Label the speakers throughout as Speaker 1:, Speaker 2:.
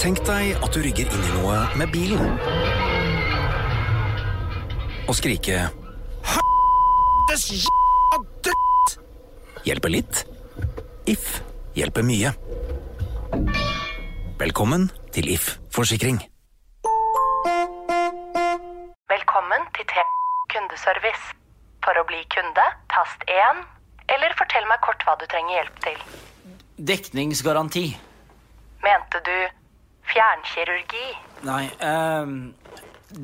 Speaker 1: Tenk deg at du rygger inn i noe med bilen. Og skrike Helvetes jævla dritt! Hjelper litt. If hjelper mye. Velkommen til If forsikring.
Speaker 2: Velkommen til T kundeservice. For å bli kunde, tast 1, eller fortell meg kort hva du trenger hjelp til.
Speaker 3: Dekningsgaranti.
Speaker 2: Mente du fjernkirurgi?
Speaker 3: Nei, ehm,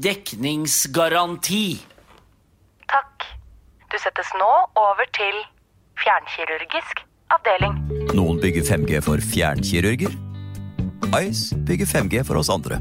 Speaker 3: dekningsgaranti.
Speaker 2: Takk. Du settes nå over til fjernkirurgisk avdeling.
Speaker 4: Noen bygger 5G for fjernkirurger. Ice bygger 5G for oss andre.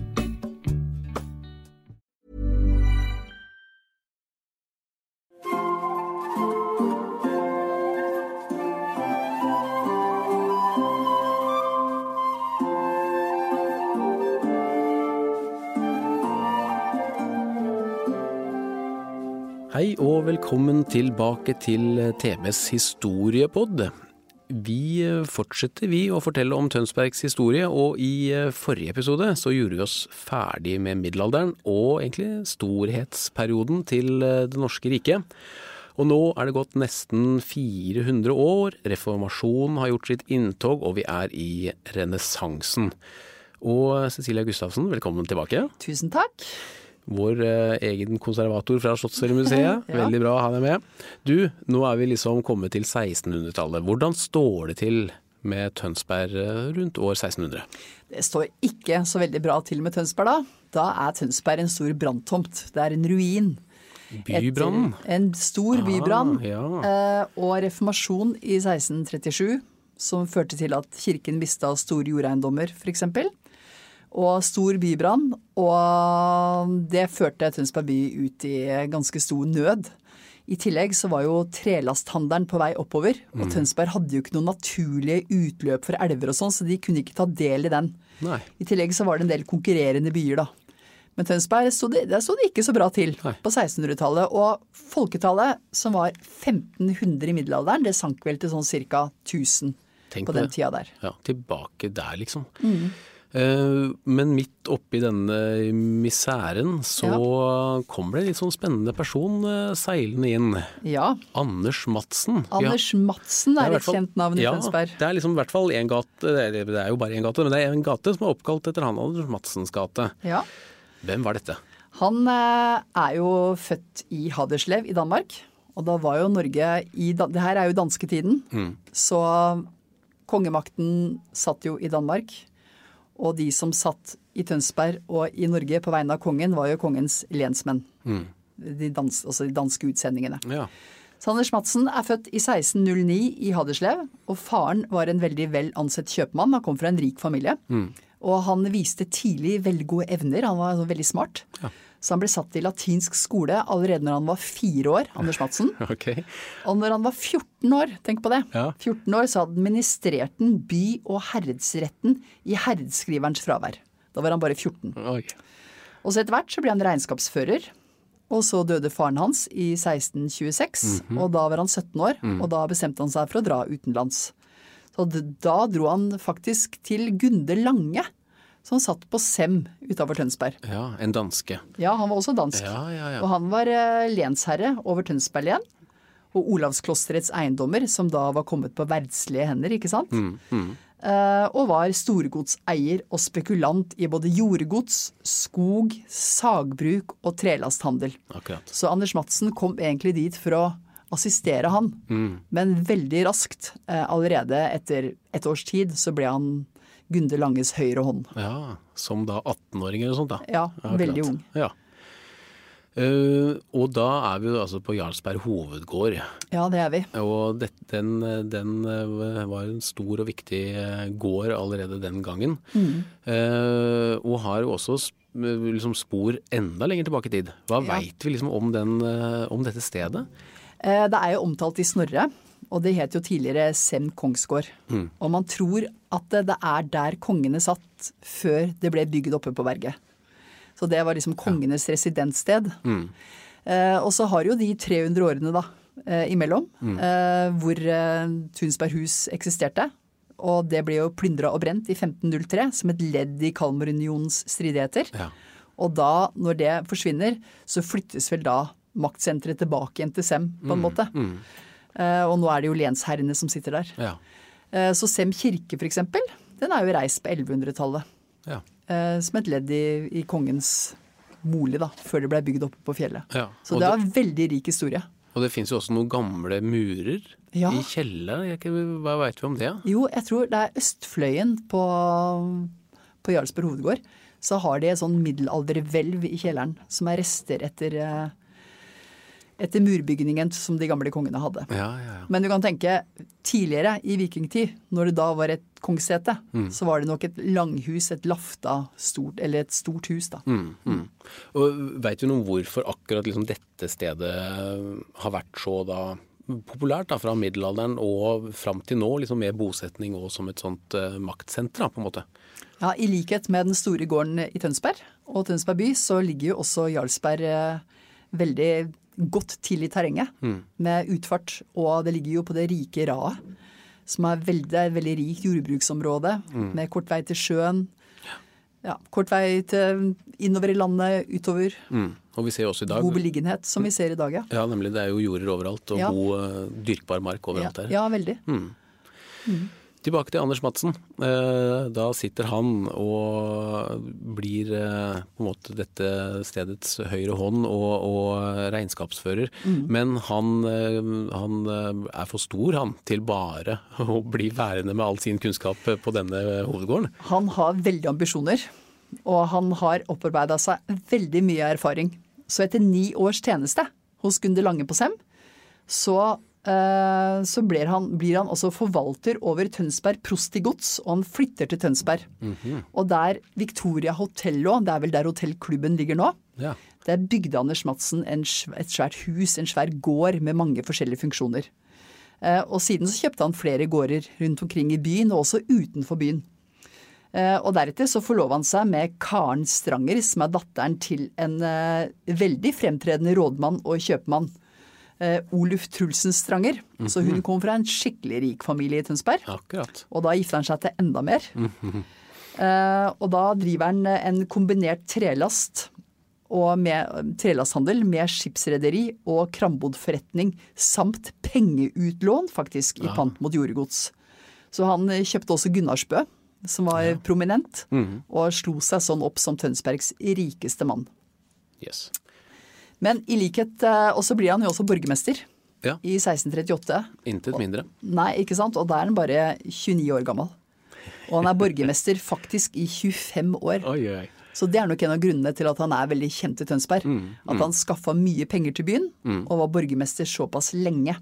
Speaker 5: Hei og velkommen tilbake til TBs historiepod. Vi eh, fortsetter vi å fortelle om Tønsbergs historie, og i eh, forrige episode så gjorde vi oss ferdig med middelalderen og egentlig storhetsperioden til eh, det norske riket. Og nå er det gått nesten 400 år, reformasjonen har gjort sitt inntog, og vi er i renessansen. Og Cecilia Gustavsen, velkommen tilbake.
Speaker 6: Tusen takk.
Speaker 5: Vår eh, egen konservator fra Slottsfjellmuseet. Veldig bra å ha deg med. Du, nå er vi liksom kommet til 1600-tallet. Hvordan står det til med Tønsberg eh, rundt år 1600?
Speaker 6: Det står ikke så veldig bra til med Tønsberg da. Da er Tønsberg en stor branntomt. Det er en ruin.
Speaker 5: Bybrannen?
Speaker 6: Etter En stor bybrann.
Speaker 5: ja.
Speaker 6: eh, Og reformasjon i 1637, som førte til at kirken mista store jordeiendommer, f.eks. Og stor bybrann. Og det førte Tønsberg by ut i ganske stor nød. I tillegg så var jo trelasthandelen på vei oppover,
Speaker 5: Mm.
Speaker 6: og Tønsberg hadde jo ikke noen naturlige utløp for elver og sånn, så de kunne ikke ta del i den.
Speaker 5: Nei.
Speaker 6: I tillegg så var det en del konkurrerende byer, da. Men Tønsberg sto det, der sto det ikke så bra til på 1600-tallet. Og folketallet, som var 1500 i middelalderen, det sank vel til sånn ca. 1000
Speaker 5: Tenk
Speaker 6: på
Speaker 5: på
Speaker 6: den
Speaker 5: det.
Speaker 6: tida der.
Speaker 5: Ja, tilbake der, liksom.
Speaker 6: Mm.
Speaker 5: Eh, Men midt oppi denne miseren så kommer det en litt sånn spennende person eh, seilende inn.
Speaker 6: Ja.
Speaker 5: Anders Madsen. Vi har-
Speaker 6: Anders Madsen
Speaker 5: Det i
Speaker 6: er et
Speaker 5: hvert fall-
Speaker 6: kjent navn i
Speaker 5: ja,
Speaker 6: Tønsberg.
Speaker 5: Det er liksom i hvert fall en gate, det er, det er jo bare én gate, men det er en gate som er oppkalt etter han Anders Madsens gate.
Speaker 6: Ja.
Speaker 5: Hvem var dette?
Speaker 6: Han eh, er jo født i Haderslev i Danmark. Og da var jo Norge i da- Det her er jo dansketiden.
Speaker 5: Mm.
Speaker 6: Så kongemakten satt jo i Danmark. Og de som satt i Tønsberg og i Norge på vegne av kongen, var jo kongens lensmenn.
Speaker 5: Mm.
Speaker 6: De dans, altså de danske utsendingene.
Speaker 5: Ja.
Speaker 6: Så Anders Madsen er født i 1609 i Haderslev, og faren var en veldig vel ansett kjøpmann. Han kom fra en rik familie. Og han viste tidlig veldig gode evner, han var sånn veldig smart. Så han ble satt i latinsk skole allerede når han var fire år, Anders Madsen.
Speaker 5: Ok.
Speaker 6: Og når han var 14 år, tenk på det,
Speaker 5: Ja.
Speaker 6: 14 år så administrerte han by- og herredsretten i herredskriverens fravær. Da var han bare 14.
Speaker 5: Oi.
Speaker 6: Og så etter hvert så ble han regnskapsfører. Og så døde faren hans i 1626, og da var han 17 år. Og da bestemte han seg for å dra utenlands. Så d- da dro han faktisk til Gunde Lange, som satt på Sem utafor Tønsberg.
Speaker 5: Ja, en danske.
Speaker 6: Ja, han var også dansk.
Speaker 5: Ja, ja, ja.
Speaker 6: Og han var eh, lensherre over Tønsberg len. Og Olavsklosterets eiendommer, som da var kommet på verdslige hender, ikke sant.
Speaker 5: Mm,
Speaker 6: Eh, og var storgodseier og spekulant i både jordgods, skog, sagbruk og trelasthandel.
Speaker 5: Akkurat.
Speaker 6: Så Anders Madsen kom egentlig dit for å assistere han,
Speaker 5: Mm.
Speaker 6: men veldig raskt, eh, allerede etter et års tid, så ble han Gunde Langes høyre hånd.
Speaker 5: Ja, Som da 18-åring eller sånt, da.
Speaker 6: Ja,
Speaker 5: akkurat.
Speaker 6: veldig ung.
Speaker 5: Ja. Eh, og da er vi jo altså på Jarlsberg hovedgård.
Speaker 6: Ja, det er vi.
Speaker 5: Og det, den, den eh, var en stor og viktig eh, gård allerede den gangen.
Speaker 6: Mm.
Speaker 5: Eh, og har jo også sp- liksom spor enda lenger tilbake i tid. Hva
Speaker 6: Ja.
Speaker 5: veit vi liksom om, den, eh, om dette stedet?
Speaker 6: Eh, Det er jo omtalt i Snorre, og det het jo tidligere Sem kongsgård.
Speaker 5: Mm.
Speaker 6: Og man tror at det, det er der kongene satt før det ble bygd oppe på berget. Så det var liksom kongenes residenssted.
Speaker 5: Mm.
Speaker 6: Eh, og så har jo de 300 årene da, eh, imellom,
Speaker 5: Mm.
Speaker 6: eh, hvor eh, Tunsberg hus eksisterte. Og det ble jo plyndra og brent i 1503 som et ledd i Kalmarunionens stridigheter. Og da, når det forsvinner, så flyttes vel da maktsenteret tilbake igjen til Sem, på en måte.
Speaker 5: Mm.
Speaker 6: Eh, og nå er det jo lensherrene som sitter der.
Speaker 5: Ja.
Speaker 6: Eh, så Sem kirke, for eksempel, den er jo reist på 1100-tallet.
Speaker 5: Ja.
Speaker 6: Eh, som et ledd i, i kongens bolig, da, før det blei bygd oppe på fjellet.
Speaker 5: Ja.
Speaker 6: Så
Speaker 5: Og
Speaker 6: det
Speaker 5: det-
Speaker 6: var en veldig rik historie.
Speaker 5: Og det fins jo også noen gamle murer
Speaker 6: Ja.
Speaker 5: i kjelleren. Jeg er ikke- Hva veit vi om det?
Speaker 6: Jo, jeg tror det er Østfløyen på, på Jarlsberg hovedgård. Så har de et sånn middelalderhvelv i kjelleren, som er rester etter, eh, etter murbygningen som de gamle kongene hadde.
Speaker 5: Ja, ja, ja.
Speaker 6: Men du kan tenke tidligere, i vikingtid, når det da var et kongssete,
Speaker 5: Mm.
Speaker 6: så var det nok et langhus, et lafta, stort, eller et stort hus, da.
Speaker 5: Mm, mm. Og Veit du noe om hvorfor akkurat liksom dette stedet har vært så da populært da, fra middelalderen og fram til nå, liksom med bosetning og som et sånt eh, maktsenter, da, på en måte?
Speaker 6: Ja, I likhet med den store gården i Tønsberg og Tønsberg by, så ligger jo også Jarlsberg eh, veldig godt til i terrenget.
Speaker 5: Mm.
Speaker 6: Med utfart, og det ligger jo på det rike raet. Som er veldig, det er et veldig rikt jordbruksområde
Speaker 5: Mm.
Speaker 6: med kort vei til sjøen. Ja, kort vei til innover i landet, utover.
Speaker 5: Mm. Og vi ser jo også i dag
Speaker 6: God beliggenhet, som vi ser i dag, ja.
Speaker 5: Ja, nemlig. Det er jo jorder overalt, og
Speaker 6: Ja.
Speaker 5: god eh, dyrkbar mark overalt
Speaker 6: Ja,
Speaker 5: her.
Speaker 6: ja veldig.
Speaker 5: Mm.
Speaker 6: Mm.
Speaker 5: Tilbake til Anders Madsen. Eh, Da sitter han og blir eh, på en måte dette stedets høyre hånd og, og regnskapsfører.
Speaker 7: Mm.
Speaker 5: Men han, eh, han eh, er for stor han til bare å bli værende med all sin kunnskap på denne hovedgården.
Speaker 6: Han har veldig ambisjoner, og han har opparbeida seg veldig mye erfaring. Så etter ni års tjeneste hos Gunder Lange på Sem, så, eh, så blir, han, blir han også forvalter over Tønsberg prost i gods, og han flytter til Tønsberg. Og der Victoria Hotello, det er vel der hotellklubben ligger nå,
Speaker 5: Ja.
Speaker 6: der bygde Anders Madsen en, sv- et svært hus, en svær gård med mange forskjellige funksjoner. Eh, og siden så kjøpte han flere gårder rundt omkring i byen, og også utenfor byen. Eh, og deretter så forlova han seg med Karen Stranger, som er datteren til en eh, veldig fremtredende rådmann og kjøpmann. Eh, Oluf Trulsen Stranger. Så hun
Speaker 5: Mhm.
Speaker 6: kom fra en skikkelig rik familie i Tønsberg.
Speaker 5: Akkurat.
Speaker 6: Og da gifter han seg til enda mer.
Speaker 5: Mhm.
Speaker 6: Eh, og da driver han eh, en kombinert trelast og med, trelasthandel med skipsrederi og krambodforretning samt pengeutlån, faktisk, i
Speaker 5: Ja.
Speaker 6: pant mot jordegods. Så han eh, kjøpte også Gunnarsbø, som var prominent,
Speaker 5: Mhm.
Speaker 6: og slo seg sånn opp som Tønsbergs rikeste mann.
Speaker 5: Yes.
Speaker 6: Men i likhet eh, Og så blir han jo også borgermester
Speaker 5: Ja.
Speaker 6: i 1638.
Speaker 5: Intet mindre.
Speaker 6: Nei, ikke sant? Og da er han bare 29 år gammel. Og han er borgermester faktisk i 25 år.
Speaker 5: Oi, oi, oi.
Speaker 6: Så det er nok en av grunnene til at han er veldig kjent i Tønsberg. At han skaffa mye penger til byen,
Speaker 5: Mm.
Speaker 6: og var borgermester såpass lenge.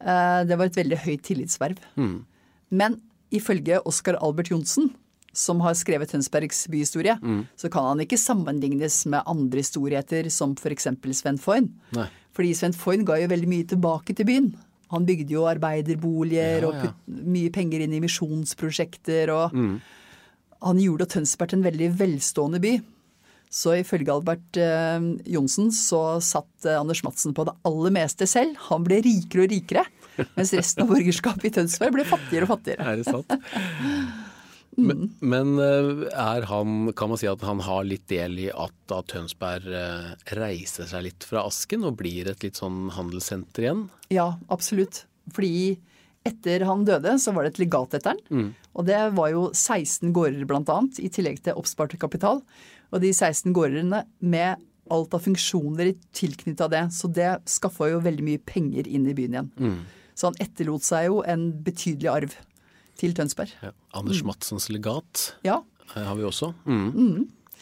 Speaker 6: Eh, Det var et veldig høyt tillitsverv.
Speaker 5: Mm.
Speaker 6: Men ifølge Oskar Albert Johnsen, som har skrevet Tønsbergs byhistorie,
Speaker 5: Mm.
Speaker 6: så kan han ikke sammenlignes med andre storheter som f.eks. Sven Foyn.
Speaker 5: Nei.
Speaker 6: Fordi Sven Foyn ga jo veldig mye tilbake til byen. Han bygde jo arbeiderboliger
Speaker 5: Ja,
Speaker 6: og
Speaker 5: ja.
Speaker 6: putt mye penger inn i misjonsprosjekter. og
Speaker 5: Mm.
Speaker 6: Han gjorde Tønsberg til en veldig velstående by. Så ifølge Albert eh, Johnsen så satt eh, Anders Madsen på det aller meste selv. Han ble rikere og rikere, mens resten av borgerskapet i Tønsberg ble fattigere og fattigere.
Speaker 5: Er det sant? Men, men eh, er han, kan man si at han har litt del i at da Tønsberg eh, reiser seg litt fra asken og blir et litt sånn handelssenter igjen?
Speaker 6: Ja, absolutt. Fordi etter han døde, så var det et legat etter han.
Speaker 5: Mm.
Speaker 6: Og det var jo 16 gårder blant annet, i tillegg til oppspart kapital. Og de 16 gårdene med alt av funksjoner tilknytta det. Så det skaffa jo veldig mye penger inn i byen igjen.
Speaker 5: Mm.
Speaker 6: Så han etterlot seg jo en betydelig arv til Tønsberg.
Speaker 5: Anders
Speaker 6: Mm.
Speaker 5: Madsens legat
Speaker 6: Ja.
Speaker 5: eh, har vi også. Mm.
Speaker 6: Mm.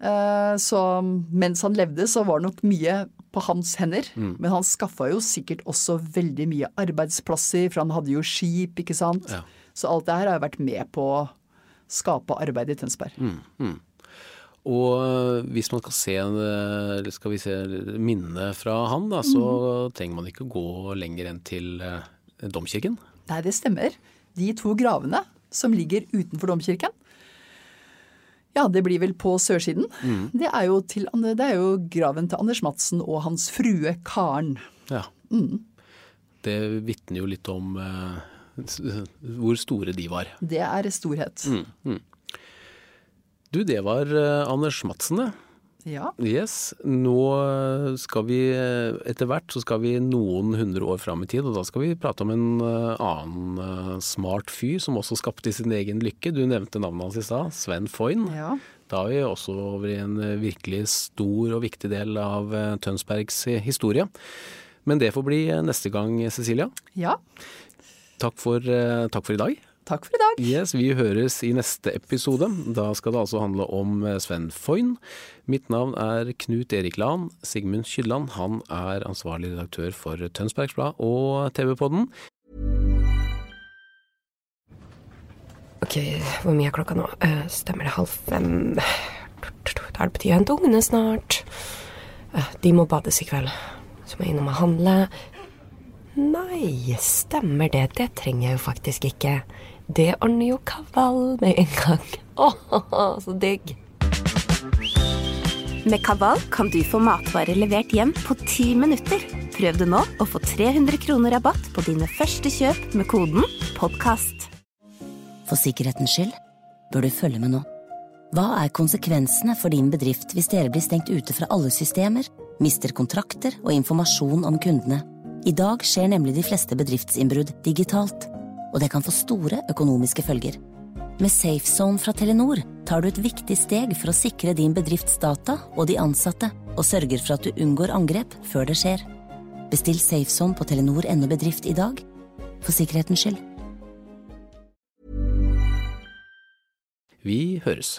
Speaker 6: Eh, Så mens han levde, så var det nok mye på hans hender.
Speaker 5: Mm.
Speaker 6: Men han skaffa jo sikkert også veldig mye arbeidsplasser, for han hadde jo skip, ikke sant.
Speaker 5: Ja.
Speaker 6: Så alt det her har jo vært med på å skape arbeid i Tønsberg.
Speaker 5: Mm, mm. Og hvis man skal se, eh, eller skal vi se minnene fra han, da,
Speaker 6: Mm.
Speaker 5: så trenger man ikke å gå lenger enn til eh, domkirken.
Speaker 6: Nei, det stemmer. De to gravene som ligger utenfor domkirken, ja, det blir vel på sørsiden.
Speaker 5: Mm.
Speaker 6: Det, er jo til, det er jo graven til Anders Madsen og hans frue Karen.
Speaker 5: Ja.
Speaker 6: Mm,
Speaker 5: Det vitner jo litt om eh, s- hvor store de var.
Speaker 6: det er storhet.
Speaker 5: Mm, mm. Du, det var eh, Anders Madsen, det.
Speaker 6: Ja.
Speaker 5: Yes. Nå skal vi eh, etter hvert så skal vi noen hundre år fram i tid, og da skal vi prate om en eh, annen eh, smart fyr som også skapte sin egen lykke. Du nevnte navnet hans i stad, Sven Foyn.
Speaker 6: Ja.
Speaker 5: Da er vi også over i en eh, virkelig stor og viktig del av eh, Tønsbergs eh, historie. Men det får bli eh, neste gang, Cecilia.
Speaker 6: ja.
Speaker 5: Takk for, eh, takk for i dag.
Speaker 6: Takk for i dag.
Speaker 5: Yes, Vi høres i neste episode. Da skal det altså handle om eh, Sven Foyn. Mitt navn er Knut Erik Lahn. Sigmund Kydland han er ansvarlig redaktør for Tønsbergs Blad og TV-podden.
Speaker 7: Ok, hvor mye er klokka nå? Eh, stemmer det halv fem? Da er det på tide å hente ungene snart. Eh, de må bades i kveld. Så må jeg innom og handle. Nei, stemmer det. Det trenger jeg jo faktisk ikke. Det ordner jo Kaval med en gang. Åh, så digg.
Speaker 8: Med Kaval kan du få matvarer levert hjem på 10 minutter. Prøv det nå og få 300 kroner rabatt på dine første kjøp med koden PODKAST.
Speaker 9: For sikkerhetens skyld bør du følge med nå. Hva er konsekvensene for din bedrift hvis dere blir stengt ute fra alle systemer, mister kontrakter og informasjon om kundene? I dag skjer nemlig de fleste bedriftsinnbrudd digitalt, og det kan få store økonomiske følger. Med SafeZone fra Telenor tar du et viktig steg for å sikre din bedrifts data og de ansatte, og sørger for at du unngår angrep før det skjer. Bestill SafeZone på telenor.no bedrift i dag, for sikkerhetens skyld.
Speaker 5: Vi høres.